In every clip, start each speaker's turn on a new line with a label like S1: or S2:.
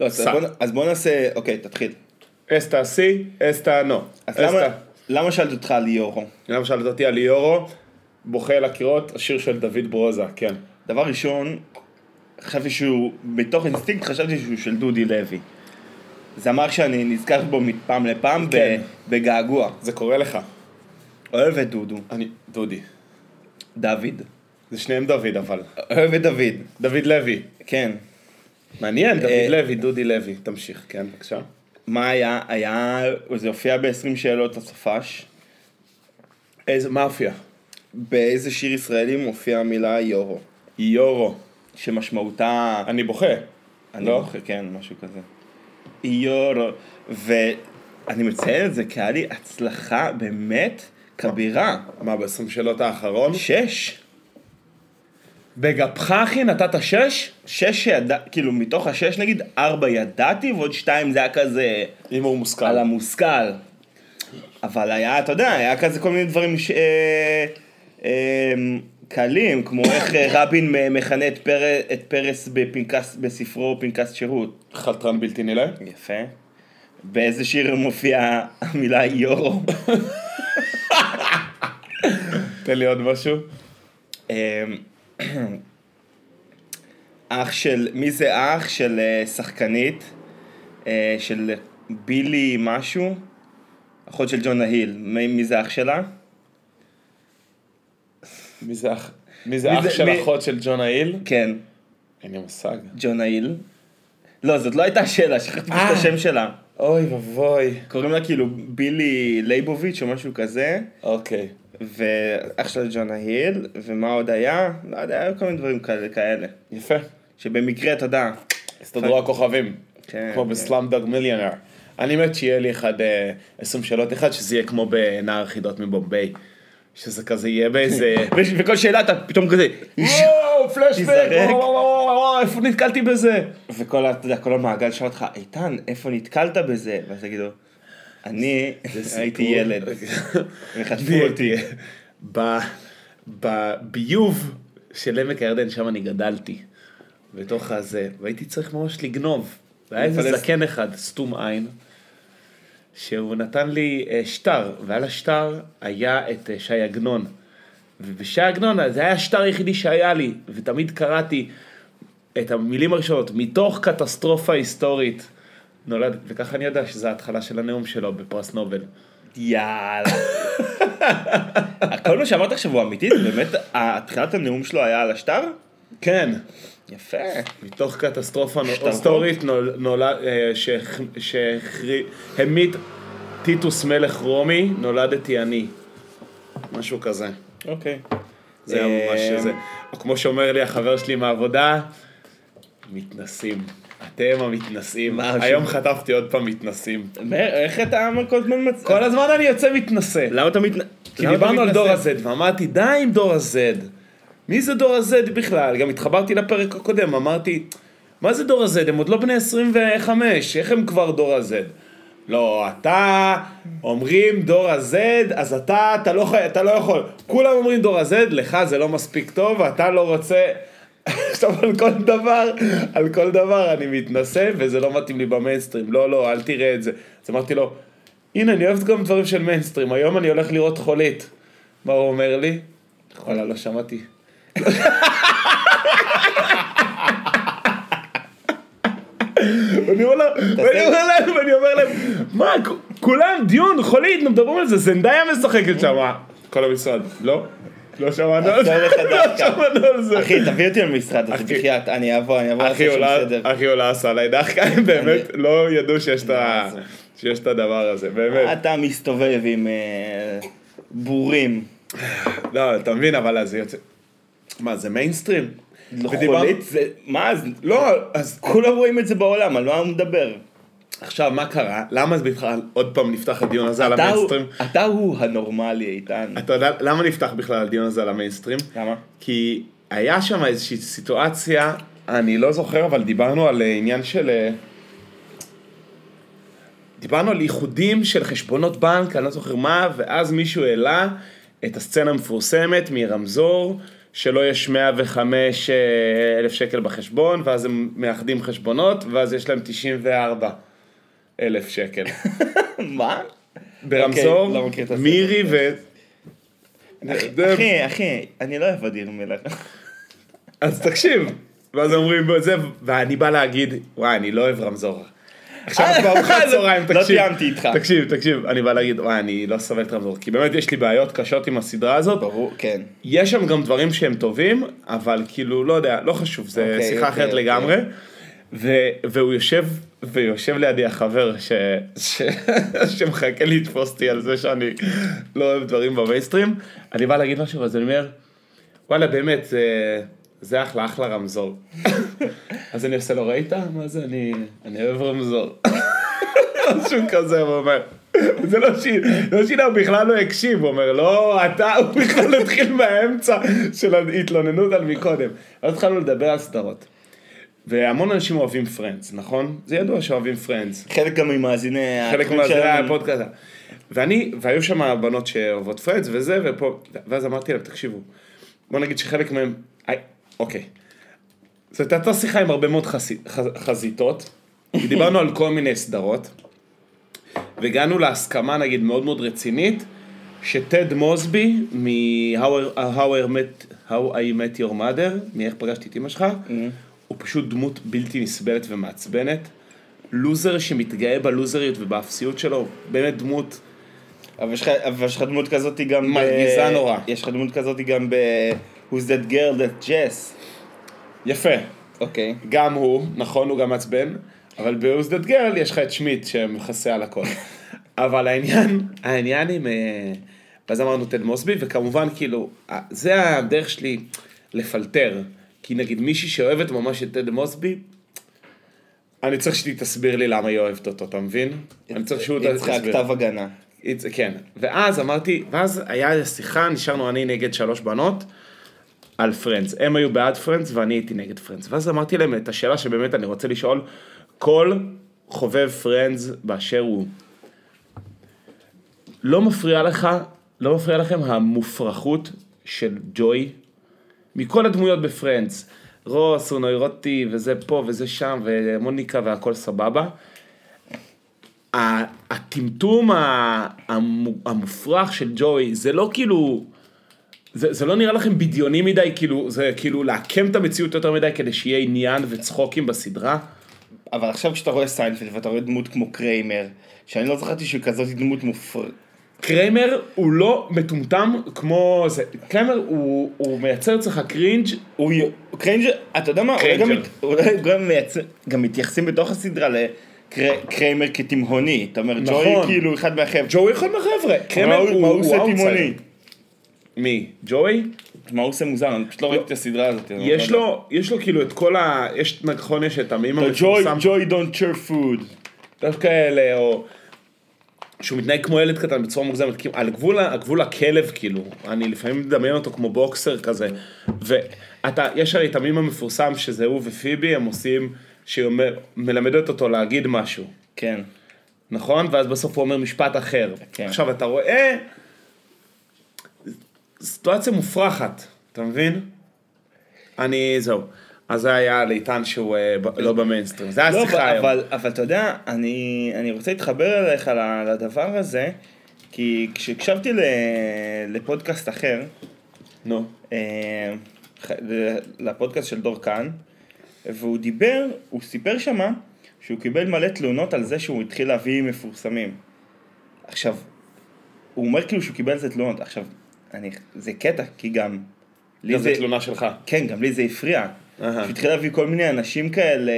S1: לא, אז
S2: סע.
S1: בוא נ- אז בוא נעשה, אוקיי, תתחיל.
S2: אסטה סי, אסטה נו.
S1: אז למה-
S2: אסטה.
S1: למה שאלתי אותך על יורו?
S2: למה שאלת אותי על ליאורו, בוכה לקירות, השיר של דוד ברוזה, כן.
S1: דבר ראשון, חשבתי שהוא, מתוך אינסטינקט חשבתי שהוא של דודי לוי. זמר שאני נזכר בו מפעם לפעם
S2: כן.
S1: ב- בגעגוע.
S2: זה קורה לך.
S1: אוהב את דודו,
S2: אני, דודי.
S1: דוד.
S2: זה שניהם דוד אבל.
S1: אוהב את דוד,
S2: דוד לוי.
S1: כן.
S2: מעניין,
S1: אה,
S2: דוד לוי, דודי לוי. תמשיך, כן, בבקשה.
S1: מה היה? היה, זה הופיע ב-20 שאלות הסופש.
S2: איזה מאפיה.
S1: באיזה שיר ישראלי מופיעה המילה יורו?
S2: יורו.
S1: שמשמעותה...
S2: אני בוכה.
S1: אני
S2: לא?
S1: זוכר, כן, משהו כזה. יורו. ואני מציין את זה כי היה לי הצלחה באמת כבירה.
S2: מה, ב-20 שאלות האחרון?
S1: שש.
S2: בגפך אחי נתת שש?
S1: שש שידע, כאילו מתוך השש נגיד, ארבע ידעתי ועוד שתיים זה היה כזה
S2: הימור מושכל.
S1: על המושכל. אבל היה, אתה יודע, היה כזה כל מיני דברים ש... אה, אה, קלים, כמו איך אה, רבין מ- מכנה את, פר... את פרס בפנקס, בספרו פנקס שירות.
S2: חלטרן בלתי נילא?
S1: יפה. באיזה שיר מופיעה המילה יורו?
S2: תן לי עוד משהו.
S1: אמ, אח של, מי זה אח של אה, שחקנית? אה, של בילי משהו? אחות של ג'ון נהיל. מי, מי זה אח שלה?
S2: מי זה אח? מי זה
S1: מי
S2: אח
S1: זה-
S2: של
S1: מי-
S2: אחות של ג'ון האיל?
S1: כן,
S2: אין לי מושג.
S1: ג'ון נהיל. לא, זאת לא הייתה השאלה, שכחתי פשוט את
S2: אה.
S1: השם שלה.
S2: אוי ואבוי.
S1: קוראים לה כאילו בילי לייבוביץ' או משהו כזה,
S2: אוקיי.
S1: ואח שלה ג'ון נהיל, ומה עוד היה? לא יודע, היו כל מיני דברים כאלה, כאלה.
S2: יפה.
S1: שבמקרה, אתה יודע,
S2: הסתדרו הכוכבים.
S1: כן,
S2: כמו
S1: כן.
S2: בסלאמדוג מיליונר. אני מת שיהיה לי אחד, אה, 20 שאלות אחד, שזה יהיה כמו בנער החידות מבומביי. שזה כזה יהיה באיזה...
S1: ו- וכל שאלה אתה פתאום כזה, "איש",
S2: וואו, פלשבק,
S1: תיזרק.
S2: וואו, וואו, וואו, וואו, איפה נתקלתי בזה?
S1: וכל ה- אתה יודע, כל המעגל שואל אותך, איתן, איפה נתקלת בזה? ואז תגיד לו, אני הייתי
S2: סיפור.
S1: ילד, וחטפו אותי.
S2: ב- בביוב של עמק הירדן, שם אני גדלתי. בתוך הזה, והייתי צריך ממש לגנוב. והיה איזה
S1: לפלס-
S2: זקן אחד, סתום עין, שהוא נתן לי אה, שטר, ועל השטר היה את אה, ש"י עגנון. ובש"י עגנון זה היה השטר היחידי שהיה לי, ותמיד קראתי את המילים הראשונות, מתוך קטסטרופה היסטורית. נולד, וככה אני יודע שזו ההתחלה של הנאום שלו בפרס נובל.
S1: יאללה. כל מה שאמרת עכשיו הוא אמיתי, זה באמת, ה- התחילת הנאום שלו היה על השטר?
S2: כן,
S1: יפה.
S2: מתוך קטסטרופה נו-
S1: שטרחו.
S2: היסטורית נול- נולד, אה, שהח- שהמית טיטוס מלך רומי, נולדתי אני. משהו כזה.
S1: אוקיי.
S2: זה היה ממש זה. או כמו שאומר לי החבר שלי מהעבודה, מתנסים. אתם המתנסים.
S1: מה,
S2: היום חטפתי עוד פעם מתנסים.
S1: איך אתה כל הזמן מצ...
S2: כל הזמן אני יוצא מתנשא.
S1: למה אתה מתנ...
S2: כי
S1: למה אתה
S2: דיברנו על
S1: מתנשא?
S2: דור ה-Z, ואמרתי, די עם דור ה-Z. מי זה דור ה-Z בכלל? גם התחברתי לפרק הקודם, אמרתי, מה זה דור ה-Z? הם עוד לא בני 25, איך הם כבר דור ה-Z? לא, אתה, אומרים דור ה-Z, אז אתה, אתה לא, חי- אתה לא יכול. כולם אומרים דור ה-Z, לך זה לא מספיק טוב, ואתה לא רוצה... עכשיו על כל דבר, על כל דבר אני מתנשא, וזה לא מתאים לי במיינסטרים. לא, לא, אל תראה את זה. אז אמרתי לו, הנה, אני אוהב גם דברים של מיינסטרים, היום אני הולך לראות חולית. מה הוא אומר לי? וואלה, לא שמעתי. ואני אומר להם- ואני אומר להם, ואני אומר להם, מה, כ- כולם דיון, חולית, נו, מדברים על זה, זנדאיה משחקת שם. כל המשרד, לא, לא שמענו על זה,
S1: עצור לך
S2: לא
S1: דווקא.
S2: שמענו על זה.
S1: אחי, תביא אותי למשרד הזה,
S2: אחי.
S1: בחייאת, אני אבוא, אני אבוא.
S2: אחי
S1: לעשות שם
S2: עולה,
S1: סדר.
S2: אחי עולה עשה עליי דחקה, הם באמת לא ידעו שיש את ה-
S1: מה זה?
S2: שיש את הדבר הזה, באמת.
S1: אתה מסתובב עם אה, בורים.
S2: לא, אתה מבין, אבל אז זה יוצא... מה, זה מיינסטרים? ודיברנו-
S1: לא, חולית זה, מה זה?
S2: לא, אז
S1: כולם רואים את זה בעולם, על מה הוא מדבר?
S2: עכשיו, מה קרה? למה זה בכלל עוד פעם נפתח הדיון הזה על
S1: אתה הוא-
S2: המיינסטרים?
S1: אתה הוא הנורמלי, איתן.
S2: אתה יודע למה נפתח בכלל הדיון הזה על המיינסטרים?
S1: למה?
S2: כי היה שם איזושהי סיטואציה, אני לא זוכר, אבל דיברנו על אה, עניין של... אה, דיברנו על איחודים של חשבונות בנק, אני לא זוכר מה, ואז מישהו העלה את הסצנה המפורסמת מרמזור, שלו יש 105 אה, אלף שקל בחשבון, ואז הם מאחדים חשבונות, ואז יש להם 94 אלף שקל.
S1: מה?
S2: ברמזור,
S1: אוקיי, לא מכיר את הסרט.
S2: מירי ו...
S1: אחי, אחי, אני לא אוהב אדיר מלך.
S2: אז תקשיב, ואז אומרים, "בוא, זה, ואני בא להגיד, וואי, אני לא אוהב רמזור. עכשיו
S1: אה,
S2: כבר ארוחת
S1: לא-
S2: צהריים,
S1: לא
S2: תקשיב.
S1: תיאמתי איתך.
S2: תקשיב, תקשיב, אני בא להגיד, וואי, אני לא סובל את רמזור, כי באמת יש לי בעיות קשות עם הסדרה הזאת.
S1: ברור, כן.
S2: יש שם גם דברים שהם טובים, אבל כאילו, לא יודע, לא חשוב, זה
S1: אוקיי,
S2: שיחה
S1: אוקיי,
S2: אחרת
S1: אוקיי.
S2: לגמרי. ו- והוא יושב, ויושב לידי החבר ש- ש- שמחכה לתפוס אותי על זה שאני לא אוהב דברים במיינסטרים. אני בא להגיד משהו, אז אני אומר, וואלה, באמת, זה, זה אחלה, אחלה רמזור. אז אני עושה לו, ראית? מה זה, אני, אני אוהב רמזור. משהו כזה, הוא אומר. זה לא שינה, לא שינה, הוא בכלל לא הקשיב, הוא אומר, לא, אתה, הוא בכלל התחיל מהאמצע של ההתלוננות על מקודם. אז התחלנו לדבר על סדרות. והמון אנשים אוהבים פרנדס, נכון? זה ידוע שאוהבים פרנדס.
S1: חלק גם ממאזיני...
S2: חלק
S1: התוכנית
S2: מהזירה
S1: שלנו.
S2: הפודקאסט. ואני, והיו שם הבנות שאוהבות פרנדס וזה, ופה, ואז אמרתי להם, תקשיבו, בוא נגיד שחלק מהם, היי, אוקיי. זאת הייתה שיחה עם הרבה מאוד חסי- ח- חזיתות, כי דיברנו על כל מיני סדרות, והגענו להסכמה נגיד מאוד מאוד רצינית, שטד מוסבי מ-How I Met- How I Met Your Mother, מאיך פגשתי את אמא שלך, הוא פשוט דמות בלתי נסבלת ומעצבנת. לוזר שמתגאה בלוזריות ובאפסיות שלו, באמת דמות,
S1: אבל יש לך- אבל יש לך דמות כזאת גם... ב-
S2: מרגיזה נורא.
S1: יש לך דמות כזאת גם ב... Who's that girl that jazz?
S2: יפה.
S1: אוקיי.
S2: גם הוא, נכון, הוא גם מעצבן, אבל ב-Who's That Girl יש לך את שמיט שמכסה על הכל. אבל העניין, העניין עם... אה, ואז אמרנו תד מוסבי, וכמובן, כאילו, אה, זה הדרך שלי לפלטר. כי נגיד מישהי שאוהבת ממש את תד מוסבי, אני צריך שהיא תסביר לי למה היא אוהבת אותו, אתה מבין? אני צריך שהוא
S1: היא צריכה
S2: תסביר.
S1: כתב הגנה.
S2: It's, כן, ואז אמרתי, ואז היה שיחה, נשארנו אני נגד שלוש בנות על פרנדס. הם היו בעד פרנדס ואני הייתי נגד פרנדס. ואז אמרתי להם את השאלה שבאמת אני רוצה לשאול כל חובב פרנדס באשר הוא. לא מפריע לך, לא מפריע לכם המופרכות של ג'וי מכל הדמויות בפרנדס. רוס, הוא נוירוטי, וזה פה וזה שם, ומוניקה והכל סבבה. ה- הטמטום ה- המו- המופרך של ג'וי, זה לא כאילו, זה, זה לא נראה לכם בדיוני מדי, כאילו, זה כאילו לעקם את המציאות יותר מדי כדי שיהיה עניין וצחוקים בסדרה?
S1: אבל עכשיו כשאתה רואה סיינפלד ואתה רואה דמות כמו קריימר, שאני לא זכרתי שהיא כזאת דמות מופר...
S2: קריימר הוא לא מטומטם כמו זה, קריימר הוא, הוא מייצר אצלך קרינג'
S1: הוא י- קריינג'ר, אתה יודע מה, אולי גם,
S2: קריינג'ר.
S1: מת- אולי גם, מייצר, גם מתייחסים בתוך הסדרה לקריימר כתימהוני, אתה אומר
S2: נכון.
S1: ג'וי כאילו אחד מהחבר'ה,
S2: ג'וי אחד מהחבר'ה,
S1: מה
S2: קריימר
S1: הוא-
S2: הוא,
S1: מה הוא
S2: הוא
S1: עושה תימהוני?
S2: אאוטסייד. מי? ג'וי?
S1: מה הוא עושה מוזר, אני פשוט לא ראיתי את הסדרה הזאת, אני לא
S2: יש
S1: יודע.
S2: לו, יש לו כאילו את כל ה... יש, נכון, יש את המים
S1: אתה ג'וי, ג'וי don't share food,
S2: דווקא אלה, או שהוא מתנהג כמו ילד קטן בצורה מוגזמת, כאילו, על גבול, ה- הגבול הכלב כאילו, אני לפעמים מדמיין אותו כמו בוקסר כזה, ואתה, יש הרי את המים המפורסם שזה הוא ופיבי, הם עושים, שהיא אומר- מלמדת אותו להגיד משהו,
S1: כן,
S2: נכון? ואז בסוף הוא אומר משפט אחר.
S1: כן.
S2: עכשיו אתה רואה, אה, סיטואציה מופרכת, אתה מבין? אני, זהו. אז זה היה לאיתן שהוא אה, ב- לא במיינסטרים, זה
S1: לא,
S2: היה
S1: אבל,
S2: שיחה היום.
S1: אבל, אבל אתה יודע, אני, אני רוצה להתחבר אליך ל- לדבר הזה, כי כשהקשבתי ל, לפודקאסט אחר,
S2: נו.
S1: אה, ח- ל- לפודקאסט של דור כאן, והוא דיבר, הוא סיפר שמה שהוא קיבל מלא תלונות על זה שהוא התחיל להביא מפורסמים. עכשיו, הוא אומר כאילו שהוא קיבל על זה תלונות, עכשיו, אני, זה קטע, כי גם... לי
S2: גם לא, זה תלונה שלך.
S1: כן, גם לי זה הפריע.
S2: אהה.
S1: שהוא התחיל להביא כל מיני אנשים כאלה,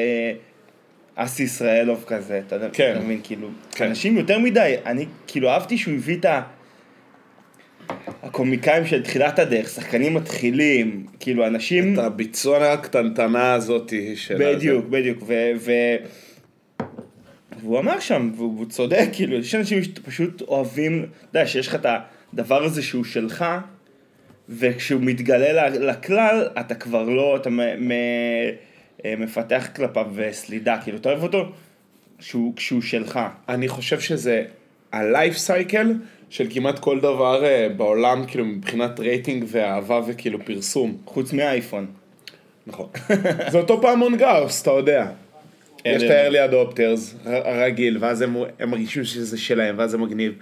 S1: אס ישראלוב כזה, אתה יודע,
S2: כן.
S1: אתה מבין, כאילו,
S2: כן.
S1: אנשים יותר מדי, אני כאילו אהבתי שהוא הביא את ה... הקומיקאים של תחילת הדרך, שחקנים מתחילים, כאילו אנשים,
S2: את הביצונה הקטנטנה הזאת של... הזה.
S1: בדיוק, בדיוק, ו... ו... והוא אמר שם, והוא והוא צודק, כאילו, יש אנשים שפשוט אוהבים, אתה יודע, שיש לך את הדבר הזה שהוא שלך, וכשהוא מתגלה ל- לכלל, אתה כבר לא, אתה מ- מ- אה, מפתח כלפיו אה, סלידה, כאילו, אתה אוהב אותו כשהוא, כשהוא שלך.
S2: אני חושב שזה הלייף סייקל של כמעט כל דבר אה, בעולם, כאילו, מבחינת רייטינג ואהבה וכאילו פרסום.
S1: חוץ מהאייפון.
S2: נכון. זה אותו פעמון גאוס, אתה יודע.
S1: כן,
S2: יש את ה-early adopters ר- הרגיל, ואז הם, הם מרגישים שזה שלהם, ואז זה מגניב,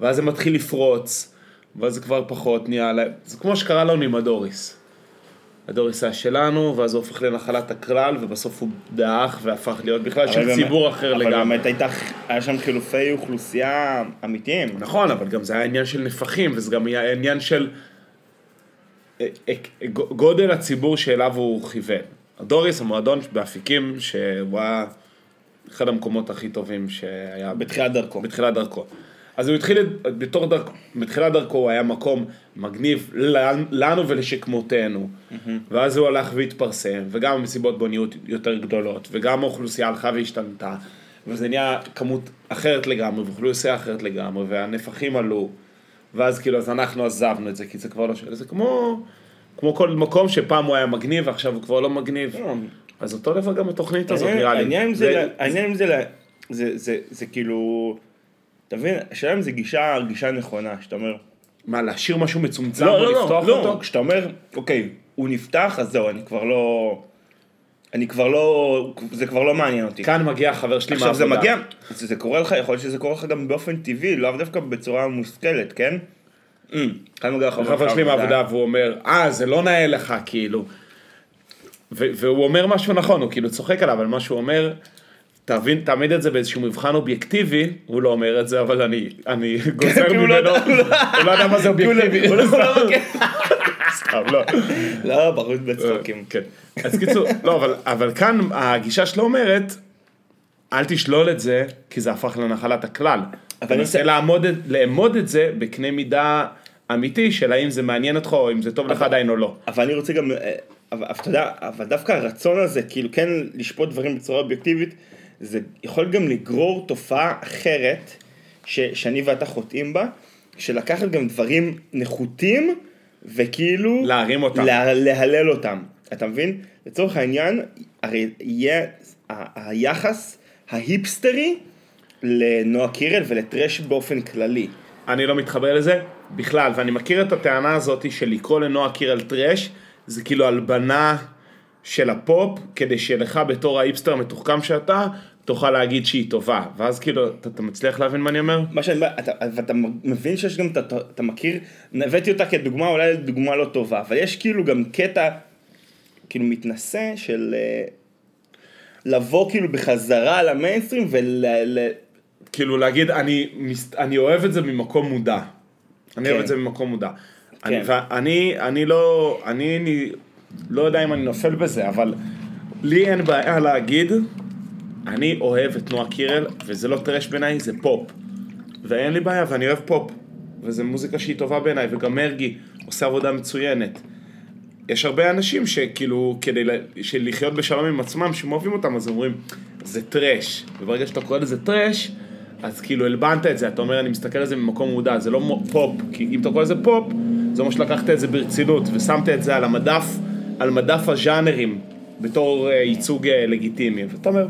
S2: ואז זה מתחיל לפרוץ, ואז זה כבר פחות נהיה, לה- זה כמו שקרה לנו עם הדוריס. הדוריס היה שלנו, ואז הוא הופך לנחלת הכלל, ובסוף הוא דעך והפך להיות בכלל של
S1: אבל
S2: ציבור
S1: באמת-
S2: אחר
S1: אבל
S2: לגמרי.
S1: באמת הייתה, היה שם חילופי אוכלוסייה אמיתיים.
S2: נכון, אבל גם זה היה עניין של נפחים, וזה גם היה עניין של אה, אה, ג- גודל הציבור שאליו הוא כיוון. הדוריס, המועדון באפיקים, שהוא היה אחד המקומות הכי טובים שהיה
S1: בתחילת דרכו.
S2: בתחילת דרכו. אז הוא התחיל את- בתור דרכו, בתחילת דרכו הוא היה מקום מגניב לנ- לנו ולשכמותנו. ואז הוא הלך והתפרסם, וגם המסיבות בו נהיו יותר גדולות, וגם האוכלוסייה הלכה והשתנתה, וזה נהיה כמות אחרת לגמרי, ואוכלוסייה אחרת לגמרי, והנפחים עלו, ואז כאילו, אז אנחנו עזבנו את זה, כי זה כבר לא ש... זה כמו, כמו כל מקום שפעם הוא היה מגניב, ועכשיו הוא כבר לא מגניב.
S1: לא.
S2: אז אותו דבר גם התוכנית הזאת,
S1: העניין-
S2: נראה לי.
S1: העניין עם זה,
S2: זה-
S1: לה- העניין עם זה, לה- זה- זה- זה כאילו, אתה מבין, השאלה אם זה גישה, גישה נכונה, שאתה אומר,
S2: מה, להשאיר משהו מצומצם
S1: לא, לא,
S2: ולפתוח
S1: לא, לא,
S2: אותו?
S1: כשאתה אומר, אוקיי, הוא נפתח, אז זהו, אני כבר לא, אני כבר לא, זה כבר לא מעניין אותי.
S2: כאן מגיע חבר שלי
S1: עכשיו
S2: מהעבודה.
S1: זה מגיע, זה זה קורה לך, יכול להיות שזה קורה לך גם באופן טבעי, לאו דווקא בצורה מושכלת, כן? אה, כאן מגיע לך
S2: חבר שלי
S1: מהעבודה.
S2: מהעבודה והוא אומר, אה, זה לא נאה לך, כאילו. ו- והוא אומר משהו נכון, הוא כאילו צוחק עליו, אבל מה שהוא אומר, תבין, תעמיד את זה באיזשהו מבחן אובייקטיבי, הוא לא אומר את זה, אבל אני, אני גוזר
S1: כי הוא לא
S2: ממנו,
S1: יודע- הוא לא-
S2: הוא לא יודע מה זה אובייקטיבי.
S1: הוא לא- הוא לא מכיר.
S2: סתם, לא.
S1: לא, ברור בצחוקים.
S2: כן. אז קיצור, לא, אבל- אבל כאן הגישה שלו אומרת, אל תשלול את זה, כי זה הפך לנחלת הכלל.
S1: אבל
S2: אבל
S1: ניסן-
S2: נסה לעמוד, את- לאמוד את זה בקנה מידה אמיתי של האם זה מעניין אותך או אם זה טוב לך עדיין או לא.
S1: אבל אני רוצה גם, אה, אבל אבל אתה יודע, אבל דווקא הרצון הזה, כאילו כן לשפוט דברים בצורה אובייקטיבית, זה יכול גם לגרור תופעה אחרת, ש, שאני ואתה חוטאים בה, של לקחת גם דברים נחותים, וכאילו...
S2: להרים אותם.
S1: לה, להלל אותם, אתה מבין? לצורך העניין, הרי יהיה ה- היחס ההיפסטרי לנועה קירל ולטרש באופן כללי.
S2: אני לא מתחבר לזה בכלל, ואני מכיר את הטענה הזאת של לקרוא לנועה קירל טרש, זה כאילו הלבנה של הפופ, כדי שלך בתור האיפסטר המתוחכם שאתה, תוכל להגיד שהיא טובה. ואז כאילו, אתה אתה מצליח להבין מה אני אומר?
S1: מה שאני אומר, אתה, ואתה מבין שיש גם, אתה, אתה מכיר, הבאתי אותה כדוגמה, אולי דוגמה לא טובה, אבל יש כאילו גם קטע, כאילו מתנשא של אה, לבוא כאילו בחזרה למיינסטרים ול... ל-
S2: כאילו להגיד, אני, מס- אני אוהב את זה ממקום מודע. אני אוהב
S1: כן.
S2: את זה ממקום מודע.
S1: כן.
S2: אני, ואני, אני לא, אני, אני לא יודע אם אני נופל בזה, אבל לי אין בעיה להגיד, אני אוהב את נועה קירל, וזה לא טרש בעיניי, זה פופ. ואין לי בעיה, ואני אוהב פופ. וזו מוזיקה שהיא טובה בעיניי, וגם מרגי עושה עבודה מצוינת. יש הרבה אנשים שכאילו, כדי ל- של לחיות בשלום עם עצמם, שהם אוהבים אותם, אז אומרים, זה טרש. וברגע שאתה קורא לזה טרש, אז כאילו הלבנת את זה, אתה אומר, אני מסתכל על זה ממקום מודע, זה לא מו- פופ, כי אם אתה קורא לזה פופ, זה אומר שלקחת את זה ברצינות, ושמת את זה על המדף, על מדף הז'אנרים, בתור אה, ייצוג אה, לגיטימי, ואתה אומר,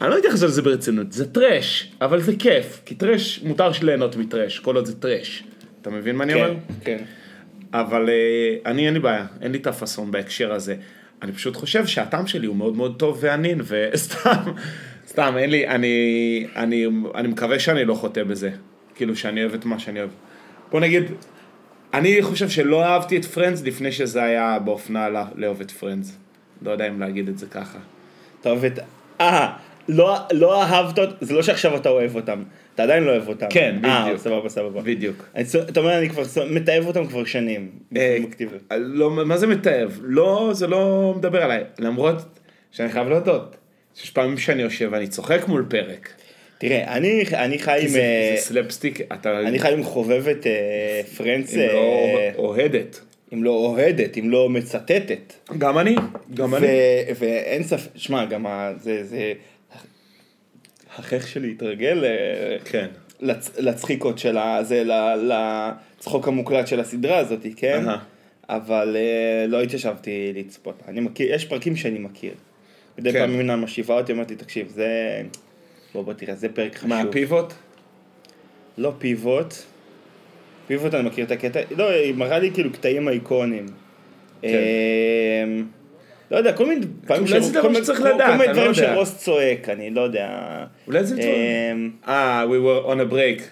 S2: אני לא מתייחס לזה ברצינות, זה טרש, אבל זה כיף, כי טרש, מותר ליהנות מטרש, כל עוד זה טרש. אתה מבין מה אני אומר?
S1: כן.
S2: אבל אה, אני אין לי בעיה, אין לי את הפאסון בהקשר הזה. אני פשוט חושב שהטעם שלי הוא מאוד מאוד טוב וענין, וסתם, סתם, אין לי, אני, אני, אני מקווה שאני לא חוטא בזה. כאילו שאני אוהב את מה שאני אוהב. בוא נגיד, אני חושב שלא אהבתי את פרנדס לפני שזה היה באופנה לא- לאהוב את פרנדס. לא יודע אם להגיד את זה ככה.
S1: אתה אוהב את... אה, לא, לא אהבת אותם, זה לא שעכשיו אתה אוהב אותם, אתה עדיין לא אוהב אותם.
S2: כן,
S1: אה,
S2: בדיוק.
S1: סבבה, סבבה.
S2: בדיוק.
S1: אני צו- אתה אומר, אני כבר צו- מתעב אותם כבר שנים.
S2: אה,
S1: באופן אקטיבי.
S2: לא, מה זה מתעב? לא, זה לא מדבר עליי. למרות שאני חייב להודות, שיש פעמים שאני יושב ואני צוחק מול פרק.
S1: תראה, אני, אני חי עם...
S2: זה
S1: אה,
S2: זה סלפסטיק, אתה
S1: אני חי עם חובבת אה, פרנץ,
S2: אם לא
S1: אה,
S2: אוהדת.
S1: אם לא אוהדת, אם לא מצטטת.
S2: גם אני, גם אני.
S1: ו- ואין ספק, שמע, גם ה- זה, זה, החייך שלי התרגל אה,
S2: כן.
S1: לצ- לצחיקות של הזה, לצחוק המוקלט של הסדרה הזאת, כן?
S2: אהה.
S1: אבל אה, לא התיישבתי לצפות. אני מכיר, יש פרקים שאני מכיר. מדי
S2: כן.
S1: פעם מינה משיבה אותי, אמרתי, תקשיב, זה... בוא בוא תראה, זה פרק חשוב.
S2: מה, הפיבוט?
S1: לא פיבוט. פיבוט אני מכיר את הקטע, לא, היא מראה לי כאילו קטעים איקונים.
S2: כן.
S1: אה, לא יודע, כל מיני פעמים
S2: אולי זה דבר
S1: כל מיני-
S2: שצריך
S1: כל-
S2: לדעת,
S1: כל מיני
S2: אני לא
S1: דברים
S2: יודע.
S1: שרוס צועק, אני לא יודע.
S2: אולי זה...
S1: אה,
S2: אה, we were on a break.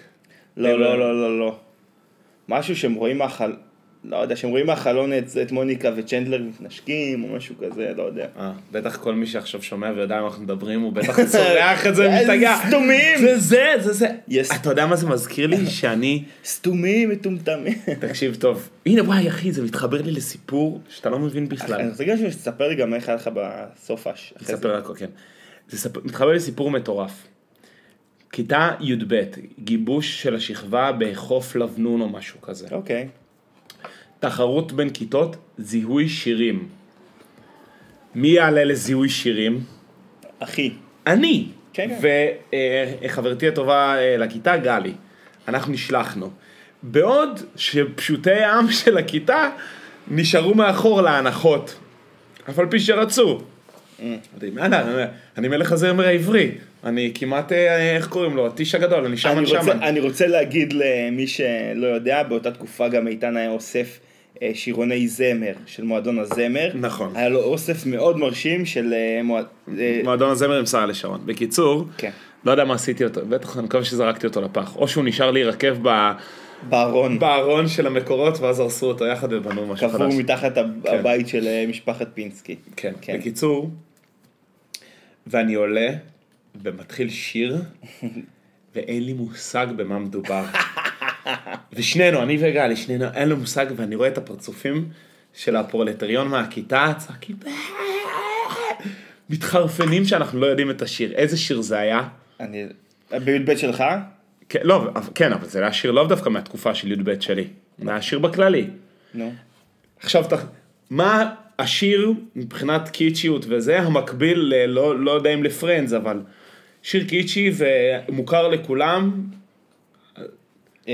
S1: לא, לא, לא, לא, לא. משהו שהם רואים מהחל... לא יודע, שהם רואים מהחלון את, את מוניקה וצ'נדלר מתנשקים או משהו כזה, לא יודע.
S2: אה, בטח כל מי שעכשיו שומע ויודע על מה אנחנו מדברים, הוא בטח צורח את זה
S1: איזה
S2: ומשתגע.
S1: אה, סתומים!
S2: זה זה, זה זה.
S1: Yes.
S2: אתה יודע מה זה מזכיר לי? שאני...
S1: סתומים, מטומטמים.
S2: תקשיב טוב. הנה וואי אחי, זה מתחבר לי לסיפור שאתה לא מבין בכלל.
S1: אני רוצה גם שתספר לי גם איך היה לך בסוף הש... אחרי זה.
S2: ספר הכל, כן. זה ספ... מתחבר לסיפור מטורף. כיתה י"ב, גיבוש של השכבה בחוף לבנון או משהו כזה.
S1: אוקיי.
S2: תחרות בין כיתות, זיהוי שירים. מי יעלה לזיהוי שירים?
S1: אחי.
S2: אני.
S1: כן, כן.
S2: וחברתי הטובה אה, לכיתה, גלי. אנחנו נשלחנו. בעוד שפשוטי העם של הכיתה נשארו מאחור להנחות. אף על פי שרצו.
S1: אה.
S2: אמרתי, מה לה, אני מלך הזמר העברי. אני כמעט, אה, איך קוראים לו? הטיש הגדול, אני שמן
S1: אני
S2: שמן.
S1: רוצה, אני רוצה להגיד למי שלא יודע, באותה תקופה גם איתן היה אוסף אה, שירוני זמר של מועדון הזמר.
S2: נכון.
S1: היה לו אוסף מאוד מרשים של אה, מועד... אה,
S2: מועדון הזמר עם סהל לשרון. בקיצור,
S1: כן.
S2: לא יודע מה עשיתי אותו, בטח אני מקווה שזרקתי אותו לפח. או שהוא נשאר להירקב ב-
S1: בארון.
S2: בארון של המקורות, ואז הרסו אותו יחד ובנו משהו חדש.
S1: קבור מתחת הב- הבית של אה, משפחת פינסקי.
S2: כן,
S1: כן.
S2: כן. בקיצור, ואני עולה ומתחיל שיר, ואין לי מושג במה מדובר. ושנינו, אני וגלי, שנינו, אין לו מושג, ואני רואה את הפרצופים של הפרולטריון מהכיתה, צועקים, "אה, מתחרפנים שאנחנו לא יודעים את השיר. איזה שיר זה היה?
S1: אני... בי"ב שלך?
S2: כן, לא, אבל- כן, אבל זה היה שיר לאו דווקא מהתקופה של י"ב שלי. זה היה שיר בכללי.
S1: נו.
S2: עכשיו, ת- מה השיר מבחינת קיצ'יות וזה המקביל, ל- לא, לא יודע אם לפרנדס, אבל שיר קיצ'י ומוכר לכולם,
S1: אמ,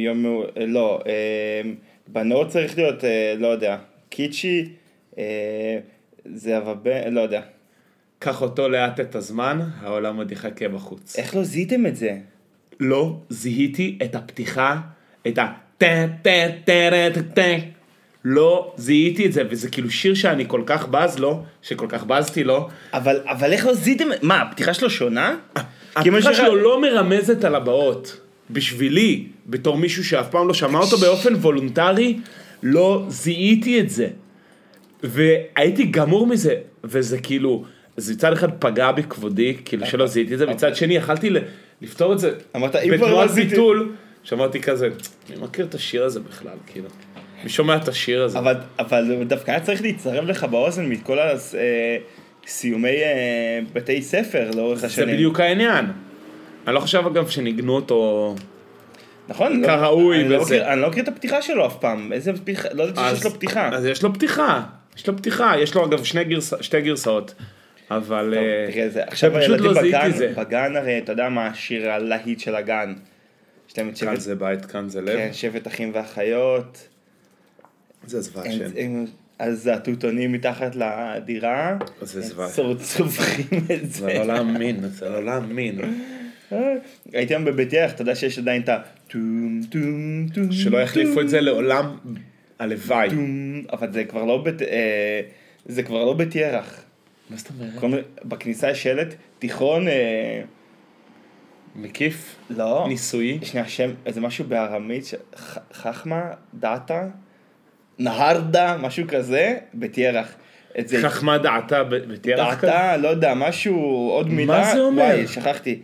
S1: יום... מאו- אה, לא. אמ, בנות צריך להיות, אה, לא יודע. קיצ'י. אה, זהבה בן... לא יודע.
S2: קח אותו לאט את הזמן, העולם עוד יחכה בחוץ.
S1: איך לא זיהיתם את זה?
S2: לא זיהיתי את הפתיחה, את ה... טה טה טה טה טה טה. לא זיהיתי את זה, וזה כאילו שיר שאני כל כך בז לו, שכל כך בזתי לו.
S1: אבל, אבל איך לא זיהיתם... מה, הפתיחה שלו שונה? כי אם
S2: הפתיחה
S1: יש לך-
S2: שלו לא מרמזת על הבאות. בשבילי, בתור מישהו שאף פעם לא שמע אותו באופן וולונטרי, לא זיהיתי את זה. והייתי גמור מזה, וזה כאילו, זה מצד אחד פגע בכבודי, כאילו שלא זיהיתי את זה, מצד שני יכלתי ל- לפתור את זה
S1: אמרת, "אם כבר לא
S2: בתנועת
S1: זיהיתי-"
S2: ביטול, שאמרתי כזה, אני מכיר את השיר הזה בכלל, כאילו. מי שומע את השיר הזה?
S1: אבל, אבל הוא דווקא היה צריך להצטרף לך באוזן מכל הסיומי אה, בתי ספר לאורך
S2: זה
S1: השנים.
S2: בדיוק העניין. אני לא חושב אגב שניגנו אותו
S1: נכון? לא-
S2: כראוי
S1: אני לא
S2: וזה.
S1: מכיר- אני לא מכיר את הפתיחה שלו אף פעם. איזה פתיחה? לא ידעתי שיש לו פתיחה.
S2: אז יש לו פתיחה, יש לו פתיחה, יש לו אגב שני גרס, שתי גרסאות, אבל...
S1: טוב,
S2: אה,
S1: תראה, זה- עכשיו
S2: פשוט
S1: הילדים
S2: לא זיהיתי
S1: בגן,
S2: זה.
S1: בגן הרי, אתה יודע מה השיר הלהיט של הגן. יש להם את
S2: כאן
S1: שבט,
S2: זה בית, כאן זה
S1: כן,
S2: לב,
S1: שבט אחים ואחיות.
S2: זה זוועה
S1: הם-
S2: שם.
S1: הם- אז התותונים מתחת לדירה.
S2: זה
S1: הם
S2: זוועה.
S1: צור- צווחים את
S2: זה
S1: זה.
S2: לא להאמין, זה לא להאמין.
S1: הייתי היום בבית יח, אתה יודע שיש עדיין את ה... טום טום טום.
S2: שלא יחליפו את זה לעולם, הלוואי.
S1: טום. אבל זה כבר לא בית... אה, זה כבר לא בית ירח.
S2: מה זאת אומרת?
S1: כל מיני- בכניסה יש שלט, תיכון... אה,
S2: מקיף?
S1: לא.
S2: ניסויי?
S1: שנייה, שם, איזה משהו בארמית, ש- ח- חכמה, דאטה, נהרדה, משהו כזה, בית ירח. את זה,
S2: חכמה דעתה ב- בתיארח כזה?
S1: דאטה, לא יודע, משהו, עוד מילה.
S2: זה אומר?
S1: וואי, שכחתי.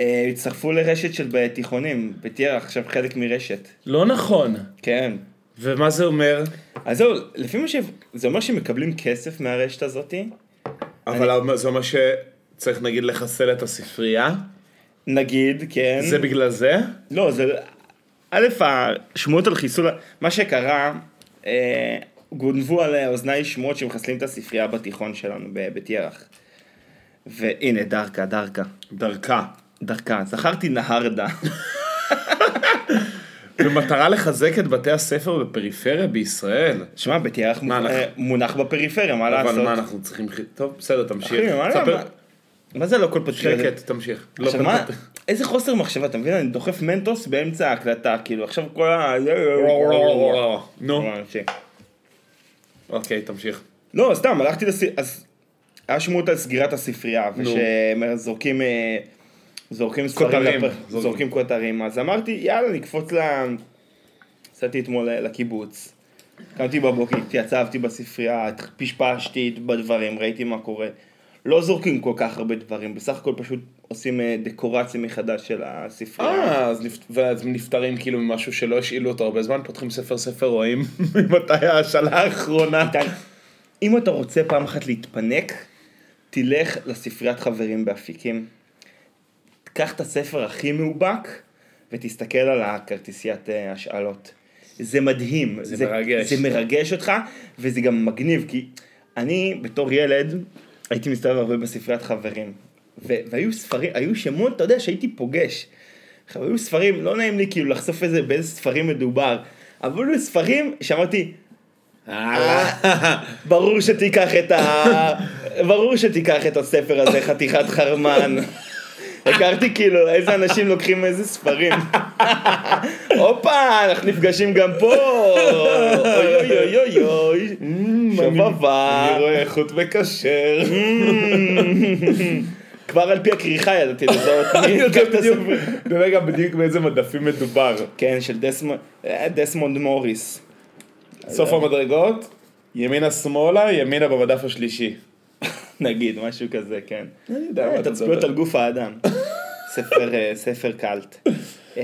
S1: אה, הצטרפו לרשת של תיכונים, בית ירח, עכשיו חלק מרשת.
S2: לא נכון.
S1: כן.
S2: ומה זה אומר?
S1: אז זהו, לפי מה ש... זה אומר שהם מקבלים כסף מהרשת הזאתי?
S2: אבל זה אומר שצריך נגיד לחסל את הספרייה?
S1: נגיד, כן.
S2: זה בגלל זה?
S1: לא, זה... א', השמועות על חיסול... מה שקרה, אה, גונבו על אוזניי שמועות שמחסלים את הספרייה בתיכון שלנו בבית ירח. והנה, דרכה, דרכה.
S2: דרכה.
S1: דרכה. זכרתי נהרדה.
S2: במטרה לחזק את בתי הספר בפריפריה בישראל.
S1: שמע, בית ירח מ-
S2: מה, אנחנו-
S1: אה, מונח בפריפריה, מה לעשות?
S2: אבל מה אנחנו צריכים... טוב, בסדר, תמשיך.
S1: אחי, מה,
S2: תספר-
S1: מה? מה זה לא כל פודקאסט?
S2: שקט, תמשיך. לא
S1: עכשיו מה,
S2: פנטט.
S1: איזה חוסר מחשבה, אתה מבין? אני דוחף מנטוס באמצע ההקלטה, כאילו עכשיו כל ה...
S2: נו, אוקיי, תמשיך.
S1: לא, סתם, הלכתי לס... אז היה שמות על סגירת הספרייה, ושזורקים... אה, זורקים ספרים
S2: כותרים,
S1: לפח-
S2: זורקים.
S1: זורקים כותרים, אז אמרתי, יאללה, נקפוץ ל... יצאתי אתמול לקיבוץ. קמתי בבוקר, התייצבתי בספרייה, פשפשתי בדברים, ראיתי מה קורה. לא זורקים כל כך הרבה דברים, בסך הכל פשוט עושים אה, דקורציה מחדש של הספרייה.
S2: אה, אז נפ- ואז נפטרים כאילו ממשהו שלא השאילו אותו הרבה זמן, פותחים ספר ספר רואים ממתי השאלה אה, האחרונה.
S1: איתן, אם אתה רוצה פעם אחת להתפנק, תלך לספריית חברים באפיקים. תקח את הספר הכי מאובק, ותסתכל על הכרטיסיית אה, השאלות. זה מדהים.
S2: זה מרגש.
S1: זה מרגש אותך, וזה גם מגניב, כי אני בתור ילד הייתי מסתובב הרבה בספריית חברים. ו- והיו ספרים, היו שמות, אתה יודע, שהייתי פוגש. עכשיו, היו ספרים, לא נעים לי כאילו לחשוף איזה, באיזה ספרים מדובר, אבל היו ספרים שאמרתי,
S2: אה,
S1: ברור שתיקח את ה... ברור שתיקח את הספר הזה, חתיכת חרמן. הכרתי כאילו איזה אנשים לוקחים איזה ספרים. הופה, אנחנו נפגשים גם פה. אוי אוי אוי אוי אוי. Mm,
S2: אני
S1: שובבה.
S2: רואה איכות וכשר.
S1: כבר על פי הכריכה ידעתי לזהות מי
S2: אני
S1: ייקח
S2: יודע
S1: את
S2: בדיוק,
S1: הספר.
S2: אתה יודע גם בדיוק באיזה מדפים מדובר.
S1: כן, של דסמונד- אה, דסמונד מוריס.
S2: סוף המדרגות, ימינה שמאלה, ימינה במדף השלישי.
S1: נגיד, משהו כזה, כן.
S2: אני יודע מה אתה
S1: תצפיות
S2: מדבר.
S1: על גוף האדם. ספר, אה, ספר קאלט. אמ,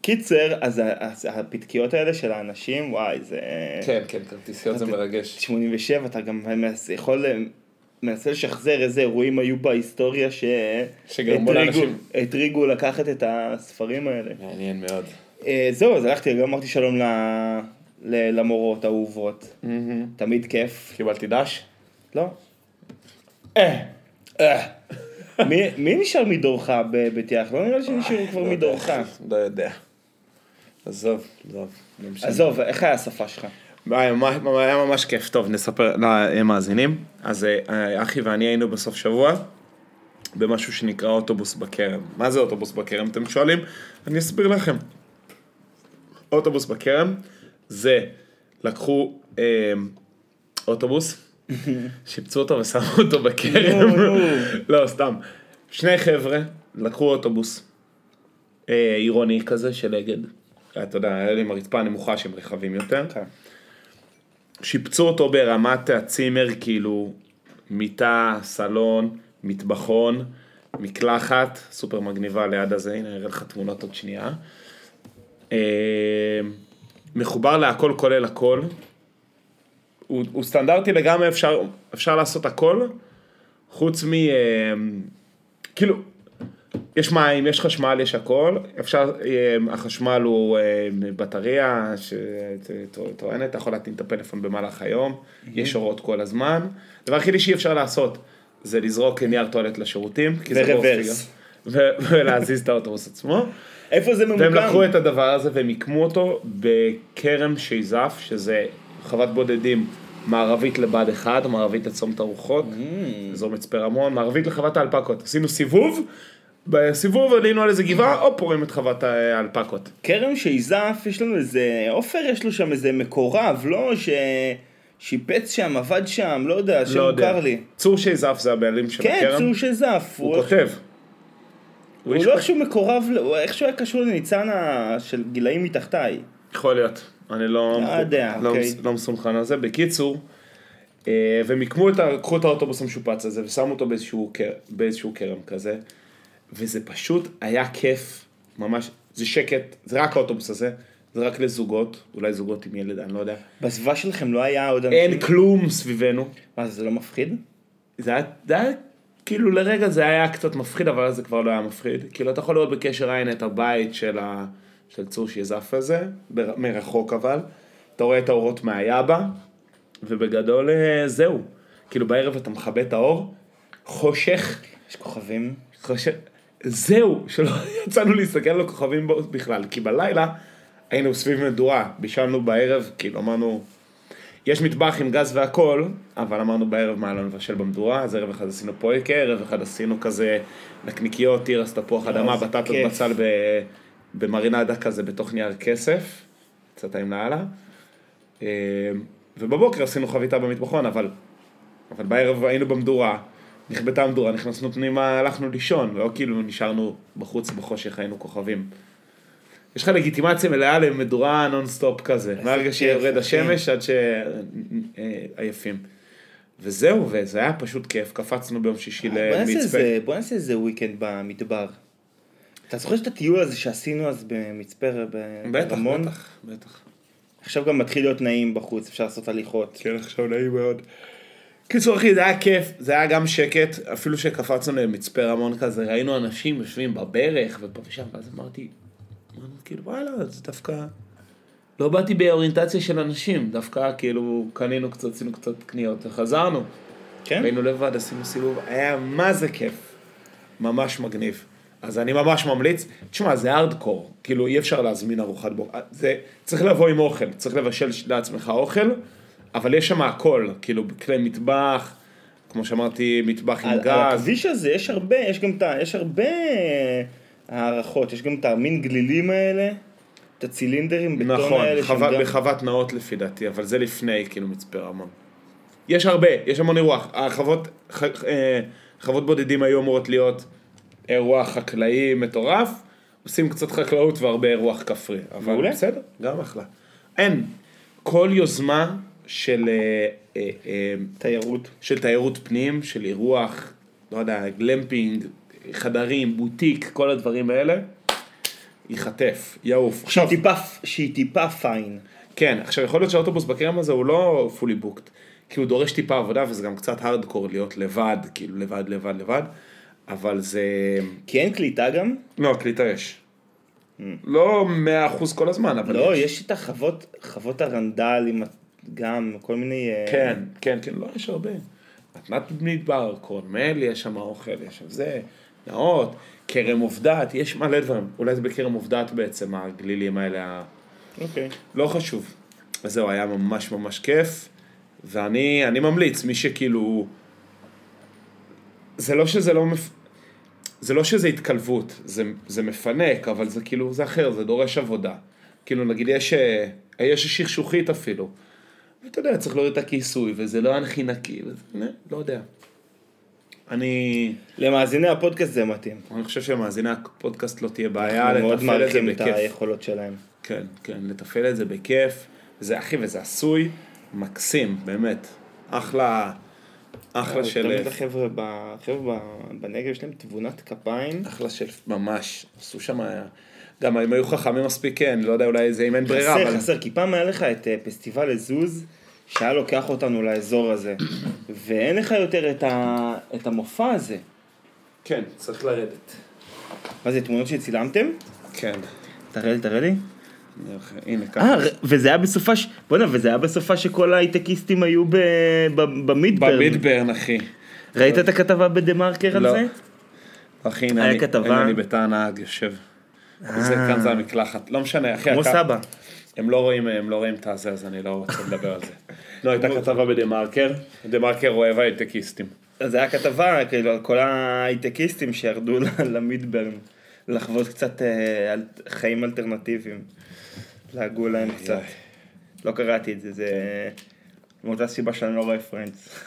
S1: קיצר, אז ה- אז הפתקיות האלה של האנשים, וואי, זה...
S2: כן, כן, כרטיסיות זה מרגש.
S1: 87, אתה גם מנס- יכול... אה, מנסה לשחזר איזה אירועים היו בהיסטוריה ש...
S2: שגרמו
S1: הטריגו-
S2: לאנשים-
S1: הטריגו לקחת את הספרים האלה.
S2: מעניין מאוד.
S1: אה, זהו, אז הלכתי, גם אמרתי שלום ל- ל- למורות האהובות. תמיד כיף.
S2: קיבלתי דש?
S1: לא.
S2: אה. אה.
S1: מי- מי נשאר מדורך בבת ים? לא נראה לי שנשארו כבר מדורך.
S2: אה, לא יודע. עזוב, עזוב. לא משנה.
S1: עזוב, איך היה השפה שלך?
S2: היה ממש- היה ממש כיף, טוב נספר למאזינים, אז אה, אחי ואני היינו בסוף שבוע במשהו שנקרא אוטובוס בכרם. מה זה אוטובוס בכרם אתם שואלים? אני אסביר לכם. אוטובוס בכרם זה לקחו אה, אוטובוס, שיפצו אותו ושמו אותו בכרם,
S1: נו, נו.
S2: לא סתם, שני חבר'ה לקחו אוטובוס אה, עירוני כזה של אגד, אה, אתה יודע, היה לי עם הרצפה הנמוכה שהם רחבים יותר.
S1: כן.
S2: שיפצו אותו ברמת הצימר, כאילו, מיטה, סלון, מטבחון, מקלחת, סופר מגניבה ליד הזה, הנה אראה לך תמונות עוד שנייה. אה, מחובר להכל כולל הכל. הוא, הוא סטנדרטי לגמרי, אפשר, אפשר לעשות הכל, חוץ מ... אה, כאילו, יש מים, יש חשמל, יש הכל. אפשר, אה, החשמל הוא אה, בטריה שטוענת, אתה יכול להטעין את הפלאפון במהלך היום, יש הוראות כל הזמן. הדבר היחידי שאי אפשר לעשות זה לזרוק נייר טואלט לשירותים. כי זה
S1: ורוורס.
S2: באוסטריה. ו- ולהזיז את האוטובוס עצמו.
S1: איפה זה
S2: והם
S1: ממוקם?
S2: לקחו את הדבר הזה והם מיקמו אותו בכרם שייזף, שזה חוות בודדים מערבית לבה"ד 1, מערבית לצומת הרוחות, אזור מצפה רמון, מערבית לחוות האלפקות. עשינו סיבוב, בסיבוב עלינו על איזה גבעה, הופ, רואים את חוות האלפקות.
S1: כרם שייזף, יש לנו איזה... עופר יש לו שם איזה מקורב, לא? ששיפץ שם, עבד שם, לא יודע, שם
S2: לא יודע.
S1: מוכר לי.
S2: צור שייזף זה הבעלים של
S1: כן,
S2: הכרם,
S1: צור שייזף.
S2: הוא כותב. הוא
S1: הוא
S2: איש
S1: לא איכשהו מקורב, ל- הוא איכשהו היה קשור לניצן ה- של גילאים מתחתיי.
S2: יכול להיות, אני לא,
S1: לא יודע,
S2: לא,
S1: אוקיי.
S2: לא מסונכן על זה. בקיצור, אה, והם עיקמו את ה... לקחו את האוטובוס המשופץ הזה ושמו אותו באיזשהו, קר, באיזשהו כרם כזה, וזה פשוט היה כיף, ממש, זה שקט, זה רק האוטובוס הזה, זה רק לזוגות, אולי זוגות עם ילד, אני לא יודע.
S1: בסביבה שלכם לא היה עוד אנשים?
S2: אין כלום סביבנו.
S1: מה, זה לא מפחיד?
S2: זה היה, זה היה, כאילו לרגע זה היה קצת מפחיד, אבל אז זה כבר לא היה מפחיד. כאילו, אתה יכול לראות בקשר עין את הבית של, ה, של צור שיזף הזה, בר, מרחוק אבל. אתה רואה את האורות מהיאבה, ובגדול אה, זהו. כאילו, בערב אתה מכבה את האור, חושך,
S1: יש כוכבים?
S2: חושך, זהו, שלא יצאנו להסתכל על הכוכבים בו- בכלל, כי בלילה היינו סביב מדורה, בישלנו בערב, כאילו אמרנו, יש מטבח עם גז והכל, אבל אמרנו בערב מה לא נבשל במדורה, אז ערב אחד עשינו פויקה, ערב אחד עשינו כזה נקניקיות, תירס, תפוח אדמה,
S1: איזה
S2: בטטות
S1: כיף.
S2: בצל ב... במרינדה כזה בתוך נייר כסף, קצת טעים לאללה. אה, ובבוקר עשינו חביתה במטבחון, אבל, אבל בערב היינו במדורה, נכבתה המדורה, נכנסנו פנימה, הלכנו לישון, לא כאילו נשארנו בחוץ בחושך, היינו כוכבים. יש לך לגיטימציה מלאה למדורה נונסטופ כזה, מהרגע
S1: כיף,
S2: שיורד
S1: אחי.
S2: השמש עד שעייפים. וזהו, וזה היה פשוט כיף, קפצנו ביום שישי
S1: בוא נעשה
S2: למצפה.
S1: איזה- בוא נעשה איזה וויקנד במדבר. אתה זוכר את הטיול הזה שעשינו אז במצפה
S2: בטח,
S1: ברמון?
S2: בטח, בטח.
S1: עכשיו גם מתחיל להיות נעים בחוץ, אפשר לעשות הליכות.
S2: כן, עכשיו נעים מאוד. קיצור אחי, זה היה כיף, זה היה גם שקט, אפילו שקפצנו למצפה רמון כזה, ראינו אנשים יושבים בברך ופה ושם, ואז אמרתי, אמרנו, כאילו וואלה, זה דווקא... לא באתי באוריינטציה של אנשים, דווקא כאילו קנינו קצת, עשינו קצת קניות וחזרנו.
S1: כן?
S2: היינו לבד, עשינו סיבוב, היה מה זה כיף. ממש מגניב. אז אני ממש ממליץ, תשמע, זה הארדקור, כאילו אי אפשר להזמין ארוחת בוקר, זה, צריך לבוא עם אוכל, צריך לבשל לעצמך אוכל, אבל יש שם הכל, כאילו כלי מטבח, כמו שאמרתי, מטבח עם
S1: על על
S2: גז,
S1: הכביש הזה יש הרבה, יש גם את ה... יש הרבה אה, הערכות, יש גם את המין גלילים האלה, את הצילינדרים, בטון
S2: נכון,
S1: האלה. שהם
S2: חוות-
S1: גם-
S2: בחוות נאות לפי דעתי, אבל זה לפני, כאילו, מצפה רמון. יש הרבה, יש המון אירוח, החוות, ח, אה, חוות בודדים היו אמורות להיות אירוח חקלאי מטורף, עושים קצת חקלאות והרבה אירוח כפרי, אבל
S1: מעולה.
S2: בסדר, גם אחלה. אין, כל יוזמה של אה, אה, אה,
S1: תיירות.
S2: של תיירות פנים, של אירוח, לא יודע, גלמפינג, חדרים, בוטיק, כל הדברים האלה, ייחטף, יעוף.
S1: שהיא טיפה, שהיא טיפה פיין.
S2: כן, עכשיו יכול להיות שהאוטובוס בכרם הזה הוא לא fully booked, כי הוא דורש טיפה עבודה וזה גם קצת הארדקור להיות לבד, כאילו לבד, לבד, לבד, אבל זה...
S1: כי אין קליטה גם?
S2: לא, קליטה יש. לא מאה אחוז כל הזמן, אבל
S1: לא, יש את החוות, חוות הרנדל עם ה- גם כל מיני... אה,
S2: כן, כן, כן, לא, יש הרבה. מתנת מדבר, קורנמל, יש שם אוכל, יש שם זה, נאות, כרם עובדת, יש מלא דברים. אולי זה בכרם עובדת בעצם, הגלילים האלה, ה-
S1: אוקיי.
S2: לא חשוב. אז זהו, היה ממש ממש כיף, ואני אני ממליץ, מי שכאילו... זה לא שזה לא מפ... זה לא שזה התקלבות, זה, זה מפנק, אבל זה כאילו, זה אחר, זה דורש עבודה. כאילו, נגיד יש, אה, יש שכשוכית אפילו. ואתה יודע, צריך להוריד את הכיסוי, וזה לא הכי נקי, וזה, נה, לא יודע. אני,
S1: למאזיני הפודקאסט זה מתאים.
S2: אני חושב שמאזיני הפודקאסט לא תהיה בעיה,
S1: אנחנו מאוד
S2: לתפעל את זה
S1: מעריכים
S2: בכיף.
S1: את היכולות שלהם.
S2: כן, כן, לתפעל את זה בכיף. זה אחי, וזה עשוי מקסים, באמת. אחלה, אחלה של...
S1: תמיד החבר'ה ב- החבר'ה ב- בנגב יש להם תבונת כפיים.
S2: אחלה של... ממש. עשו שם... גם אם היו חכמים מספיק, כן, לא יודע, אולי זה אם אין ברירה,
S1: חסר,
S2: אבל...
S1: חסר, כי פעם היה לך את אה, פסטיבל לזוז, שהיה לוקח אותנו לאזור הזה, ואין לך יותר את, ה, את המופע הזה.
S2: כן, צריך לרדת.
S1: מה זה, תמונות שצילמתם?
S2: כן.
S1: תראה לי, תראה לי.
S2: הנה,
S1: אה,
S2: ככה.
S1: ר- וזה היה בסופה, ש... בוא'נה, וזה היה בסופה שכל ההייטקיסטים היו ב... ב... במידברן.
S2: במידברן, אחי.
S1: ראית את הכתבה בדה מרקר על
S2: לא.
S1: זה?
S2: אחי, הנה
S1: היה
S2: אני,
S1: כתבה. אה.
S2: הנה אני בתא הנהג יושב. וזה כאן זה המקלחת, לא משנה, אחי,
S1: כמו
S2: אתה-
S1: סבא.
S2: הם לא רואים, הם לא רואים את הזה, אז אני לא רוצה לדבר על זה. לא, הייתה כתבה בדה מרקר, דה מרקר אוהב הייטקיסטים.
S1: אז זה היה כתבה, כאילו, על כל ההייטקיסטים שירדו ל- למידברן, לחוות קצת אה, על חיים אלטרנטיביים. לעגו להם קצת. לא קראתי את זה, זה... מאותה סיבה שאני לא רואה פרנדס.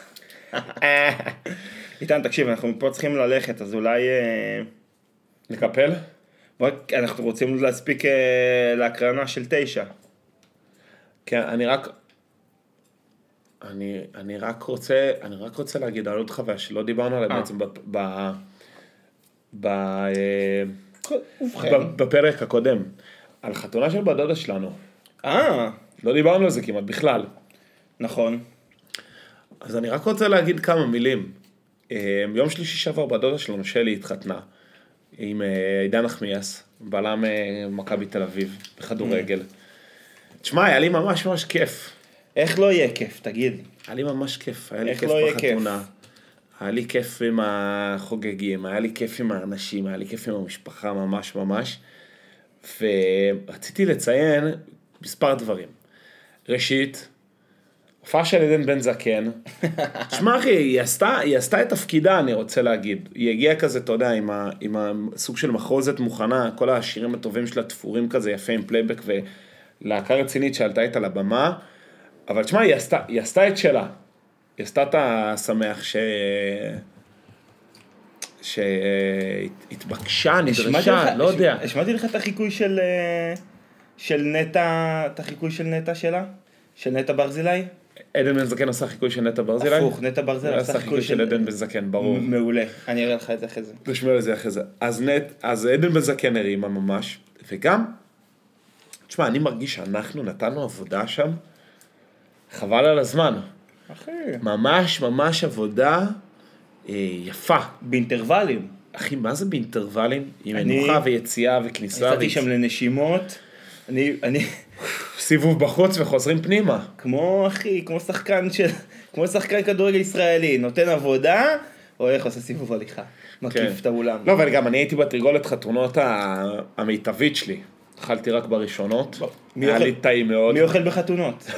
S1: איתן, תקשיב, אנחנו מפה צריכים ללכת, אז אולי... אה,
S2: נקפל?
S1: בוא, אנחנו רוצים להספיק אה, להקרנה של תשע.
S2: כן, אני רק... אני, אני רק רוצה, אני רק רוצה להגיד על עוד חוויה שלא דיברנו עליה
S1: אה.
S2: בעצם ב... ב, ב אה,
S1: ובכן.
S2: ב- בפרק הקודם, על חתונה של בת דודה שלנו.
S1: אה,
S2: לא דיברנו על זה כמעט בכלל.
S1: נכון.
S2: אז אני רק רוצה להגיד כמה מילים. אה, יום שלישי שעבר בת דודה שלנו, שלי, התחתנה עם אה, עידן נחמיאס, בלם אה, מכבי תל אביב, בכדורגל.
S1: Mm.
S2: תשמע, היה לי ממש ממש כיף.
S1: איך לא יהיה כיף, תגיד.
S2: היה לי ממש כיף, היה לי
S1: איך
S2: כיף
S1: לא יהיה
S2: בחתונה. היה לי כיף עם החוגגים, היה לי כיף עם האנשים, היה לי כיף עם המשפחה ממש ממש. ורציתי לציין מספר דברים. ראשית, הופעה של עדן בן זקן. שמע אחי, היא עשתה, היא עשתה את תפקידה, אני רוצה להגיד. היא הגיעה כזה, אתה יודע, עם, ה, עם הסוג של מחרוזת מוכנה, כל השירים הטובים שלה תפורים כזה, יפה עם פלייבק ולהקה רצינית שעלתה איתה לבמה. אבל תשמע, היא עשתה, היא עשתה את שלה. היא עשתה את השמח ש... שהתבקשה,
S1: השמעתי לך-
S2: נדרשה, לא
S1: הש-
S2: יודע.
S1: השמעתי לך את החיקוי של אה, של נטע, את החיקוי של נטע שלה? של נטע ברזילי?
S2: עדן בן זקן עשה חיקוי של נטע ברזילי?
S1: הפוך, נטע ברזילי
S2: עשה חיקוי של עדן בן זקן, ברור.
S1: מעולה, אני אראה לך את זה אחרי זה.
S2: נשמע לזה אחרי זה. אז נט, אז עדן בן זקן הרימה ממש, וגם, תשמע, אני מרגיש שאנחנו נתנו עבודה שם, חבל על הזמן.
S1: אחי.
S2: ממש ממש עבודה אה, יפה.
S1: באינטרוולים.
S2: אחי, מה זה באינטרוולים? עם
S1: אני-
S2: מנוחה ויציאה וכניסה
S1: יצאתי שם לנשימות. אני, אני,
S2: וסיבוב בחוץ וחוזרים פנימה.
S1: כמו אחי, כמו שחקן של, כמו שחקן כדורגל ישראלי, נותן עבודה, הולך עושה סיבוב הליכה. מקיף
S2: כן.
S1: את האולם.
S2: לא, אבל גם אני הייתי בתרגולת חתונות ה- המיטבית שלי. אכלתי רק בראשונות,
S1: לא, מי
S2: היה
S1: אוכל-
S2: לי טעים מאוד.
S1: מי אוכל בחתונות?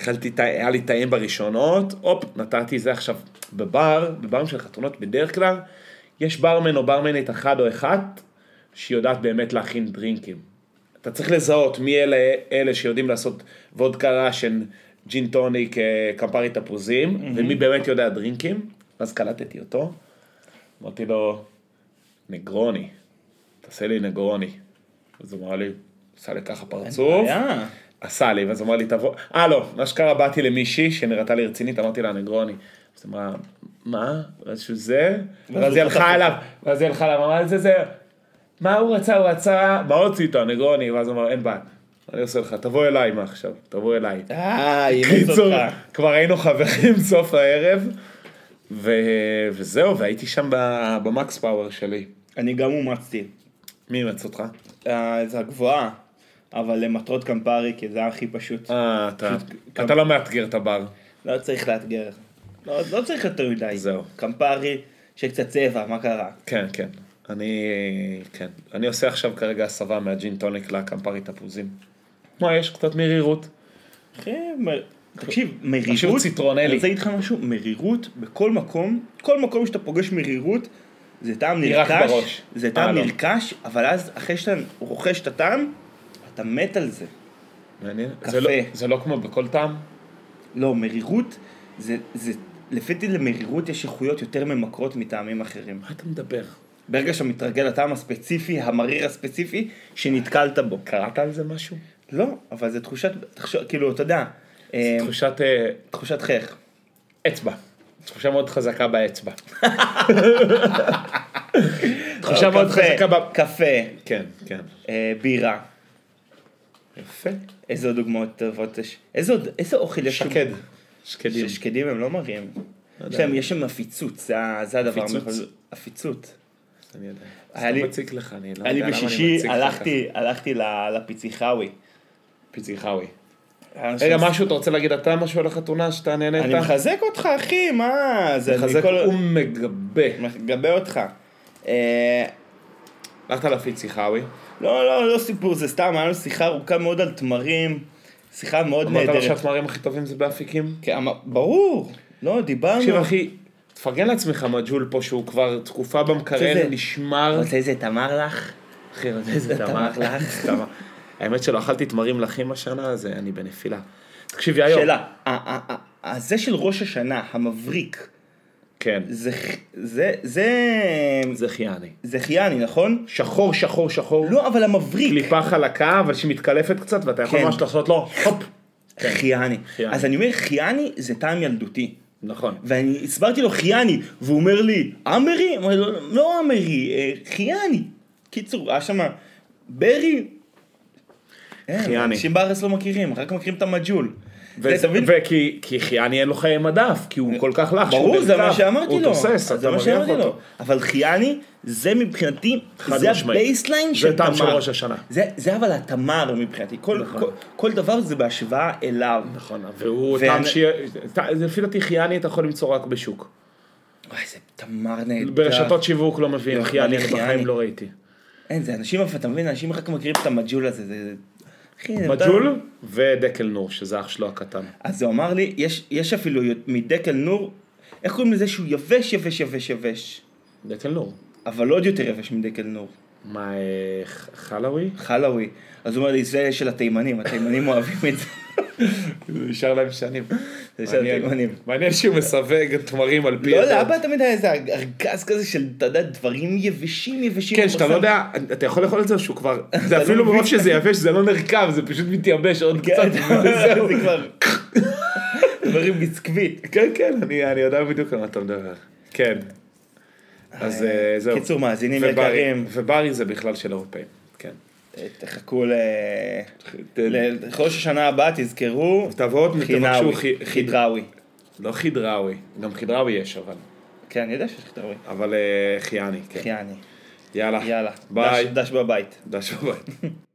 S2: אכלתי, טע- היה לי טעים בראשונות, הופ, נתתי זה עכשיו בבר, בברים של חתונות בדרך כלל, יש ברמן או ברמנית אחד או אחת, שיודעת באמת להכין דרינקים. אתה צריך לזהות מי אלה, אלה שיודעים לעשות וודקה ראשן, ג'ין טוניק, אה, קמפרי תפוזים, mm-hmm. ומי באמת יודע דרינקים, אז קלטתי אותו, אמרתי לו, נגרוני, תעשה לי נגרוני. אז הוא אמר לי, עשה לי ככה פרצוף.
S1: היה.
S2: עשה לי, ואז אמר לי, תבוא, אה לא, מה שקרה, באתי למישהי שנראתה לי רצינית, אמרתי לה, נגרוני. אז אמרה, מה? משהו זה? ואז היא הלכה אליו, ואז היא הלכה אליו, אמרה, זה זה, מה הוא רצה, הוא רצה, מה רצית, נגרוני? ואז אמר, אין בעיה, אני עושה לך, תבוא אליי מעכשיו, תבוא אליי.
S1: אה, אימץ
S2: קיצור,
S1: אותך.
S2: כבר היינו חברים סוף הערב, ו... וזהו, והייתי שם ב- במקס פאוור שלי.
S1: אני גם אומצתי.
S2: מי אימץ אותך?
S1: אה, זה הגבוהה, אבל למטרות קמפרי, כי זה היה הכי פשוט.
S2: אה, אתה, אתה לא מאתגר את הבר.
S1: לא צריך לאתגר. לא, לא צריך יותר מדי.
S2: זהו.
S1: קמפרי, שקצת צבע, מה קרה?
S2: כן, כן. אני, כן. אני עושה עכשיו כרגע הסבה מהג'ין טוניק לקמפרי תפוזים. מה, יש קצת מרירות.
S1: אחי, מ- תקשיב, מרירות,
S2: תקשיב, ציטרונלי.
S1: אני רוצה להגיד לך משהו, מרירות בכל מקום, כל מקום שאתה פוגש מרירות, זה טעם
S2: היא רק
S1: נרכש,
S2: בראש.
S1: זה
S2: אה,
S1: טעם
S2: לא.
S1: נרכש, אבל אז אחרי שאתה רוכש את הטעם, אתה מת על זה.
S2: מעניין.
S1: קפה.
S2: זה לא, זה לא כמו בכל טעם?
S1: לא, מרירות, זה, זה, לפי דעתי למרירות יש איכויות יותר ממכרות מטעמים אחרים.
S2: מה אתה מדבר?
S1: ברגע שאתה מתרגל לטעם הספציפי, המריר הספציפי, שנתקלת בו.
S2: קראת על זה משהו?
S1: לא, אבל זה תחושת, תחשוב, כאילו, אתה יודע, אה,
S2: תחושת אה,
S1: תחושת חייך.
S2: אצבע. תחושה מאוד חזקה באצבע. תחושה מאוד
S1: אה, קפה,
S2: חזקה ב...
S1: קפה,
S2: כן, כן.
S1: אה, בירה.
S2: יפה.
S1: איזה עוד דוגמאות טובות יש? איזה עוד, איזה אוכל יש?
S2: שקד. שקדים.
S1: ששקדים הם לא מרים. יש
S2: יודע.
S1: להם, יש שם עפיצות, זה ה- זה הדבר.
S2: עפיצות?
S1: המחוז- עפיצות.
S2: אני יודע.
S1: היה לי-
S2: סתם מציק לך, אני לא יודע
S1: אני
S2: למה אני
S1: בשישי
S2: מציק לך.
S1: הלכתי, הלכתי ל- לפיציחאווי.
S2: פיציחאווי.
S1: היה לנו
S2: רגע,
S1: שם-
S2: משהו אתה רוצה להגיד אתה משהו על החתונה שאתה נהנית?
S1: אני מחזק אותך, אחי, מה? זה אני
S2: מחזק
S1: כל-
S2: ומגבה.
S1: מגבה אותך. אה,
S2: הלכת לפיצי חאווי,
S1: לא, לא, לא סיפור, זה סתם, היה לנו שיחה ארוכה מאוד על תמרים, שיחה מאוד
S2: אמרת לו
S1: נהדרת.
S2: שהתמרים הכי טובים זה באפיקים?
S1: כן, אמר- ברור, לא, דיברנו.
S2: תקשיב אחי, תפרגן לעצמך מג'ול פה שהוא כבר תקופה
S1: זה?
S2: במקרר, נשמר.
S1: רוצה איזה תמר לך?
S2: אחי, רוצה איזה
S1: תמר
S2: תמר
S1: לך.
S2: תמר. האמת שלא אכלתי תמרים לחים השנה, אז אה, אני בנפילה. תקשיב, יאיו.
S1: שאלה, ה- ה- ה- ה- זה של ראש השנה, המבריק,
S2: כן,
S1: זה ח- זה, זה,
S2: זה חיאני.
S1: זה חיאני, נכון?
S2: שחור, שחור, שחור.
S1: לא, אבל המבריק,
S2: קליפה חלקה, אבל שהיא מתקלפת קצת, ואתה יכול
S1: כן.
S2: ממש לעשות לו, הופ.
S1: חיאני.
S2: כן. חיאני.
S1: אז אני אומר, חיאני זה טעם ילדותי.
S2: נכון.
S1: ואני הסברתי לו חיאני, והוא אומר לי, אמרי? אמרתי לו, לא אמרי, אה, חיאני. קיצור, היה שם ברי. אין,
S2: חיאני.
S1: אנשים בארץ לא מכירים, רק מכירים את המג'ול.
S2: ו-
S1: זה, אתה מבין?
S2: וכי כי חיאני אין לו חיי מדף, כי הוא כל כך לח. שהוא
S1: ברור, זה מה
S2: נרקב,
S1: שאמרתי לו.
S2: הוא תוסס,
S1: זה מה
S2: אתה מריח
S1: שאמרתי
S2: אותו.
S1: לו. אבל חיאני, זה מבחינתי,
S2: חד
S1: זה
S2: משמעית.
S1: הבייסליין
S2: זה
S1: של תמר.
S2: טעם של ראש השנה.
S1: זה- זה אבל התמר מבחינתי. כל-
S2: נכון.
S1: כל- כל דבר זה בהשוואה אליו.
S2: נכון, והוא
S1: ואני-
S2: טעם ש... לפי דעתי חיאני אתה יכול למצוא רק בשוק.
S1: וואי, זה תמר נהדר.
S2: ברשתות שיווק לא מביאים
S1: לא,
S2: חיאני,
S1: אני
S2: אני
S1: חיאני.
S2: בחיים לא ראיתי.
S1: אין, זה אנשים, אבל אתה מבין, אנשים רק מכירים את המג'ול הזה, זה... אחי, זה
S2: מג'ול ודקל נור, שזה אח שלו הקטן.
S1: אז הוא אמר לי, יש, יש אפילו מדקל נור, איך קוראים לזה שהוא יבש, יבש, יבש, יבש,
S2: דקל נור.
S1: אבל עוד יותר יבש מדקל נור,
S2: מה, אה, ח- חלאווי?
S1: חלאווי. אז הוא אומר לי, זה של התימנים, התימנים אוהבים את זה.
S2: זה נשאר להם שנים.
S1: זה של
S2: מעניין.
S1: התימנים.
S2: מעניין שהוא מסווג תמרים על פי...
S1: לא,
S2: הדת.
S1: לאבא תמיד היה איזה ארגז כזה של, אתה יודע, דברים יבשים, יבשים.
S2: כן,
S1: הוא
S2: שאתה
S1: שם-
S2: לא יודע, אתה יכול לאכול את זה שהוא כבר... זה אפילו
S1: לא מבין.
S2: מרוב שזה יבש, זה לא נרקב, זה פשוט מתייבש עוד
S1: כן,
S2: קצת.
S1: אתה יודע, זה כבר... דברים ביסקוויט.
S2: כן, כן, אני אני יודע בדיוק על מה אתה מדבר. כן. אז אה, זהו.
S1: קיצור, מאזינים
S2: וברי-
S1: יקרים.
S2: וברי זה בכלל של אירופאים. כן.
S1: אה, תחכו ל...
S2: ת-
S1: לראש השנה הבאה, תזכרו,
S2: תבואו, תבקשו
S1: חינאווי,
S2: חי- חיד-
S1: חידראווי.
S2: לא חידראווי, גם חידראווי יש אבל.
S1: כן, אני יודע שיש חידראווי.
S2: אבל אה, חיאני, כן.
S1: יעני.
S2: יאללה.
S1: יאללה.
S2: ביי.
S1: דש- דש בבית.
S2: דש בבית.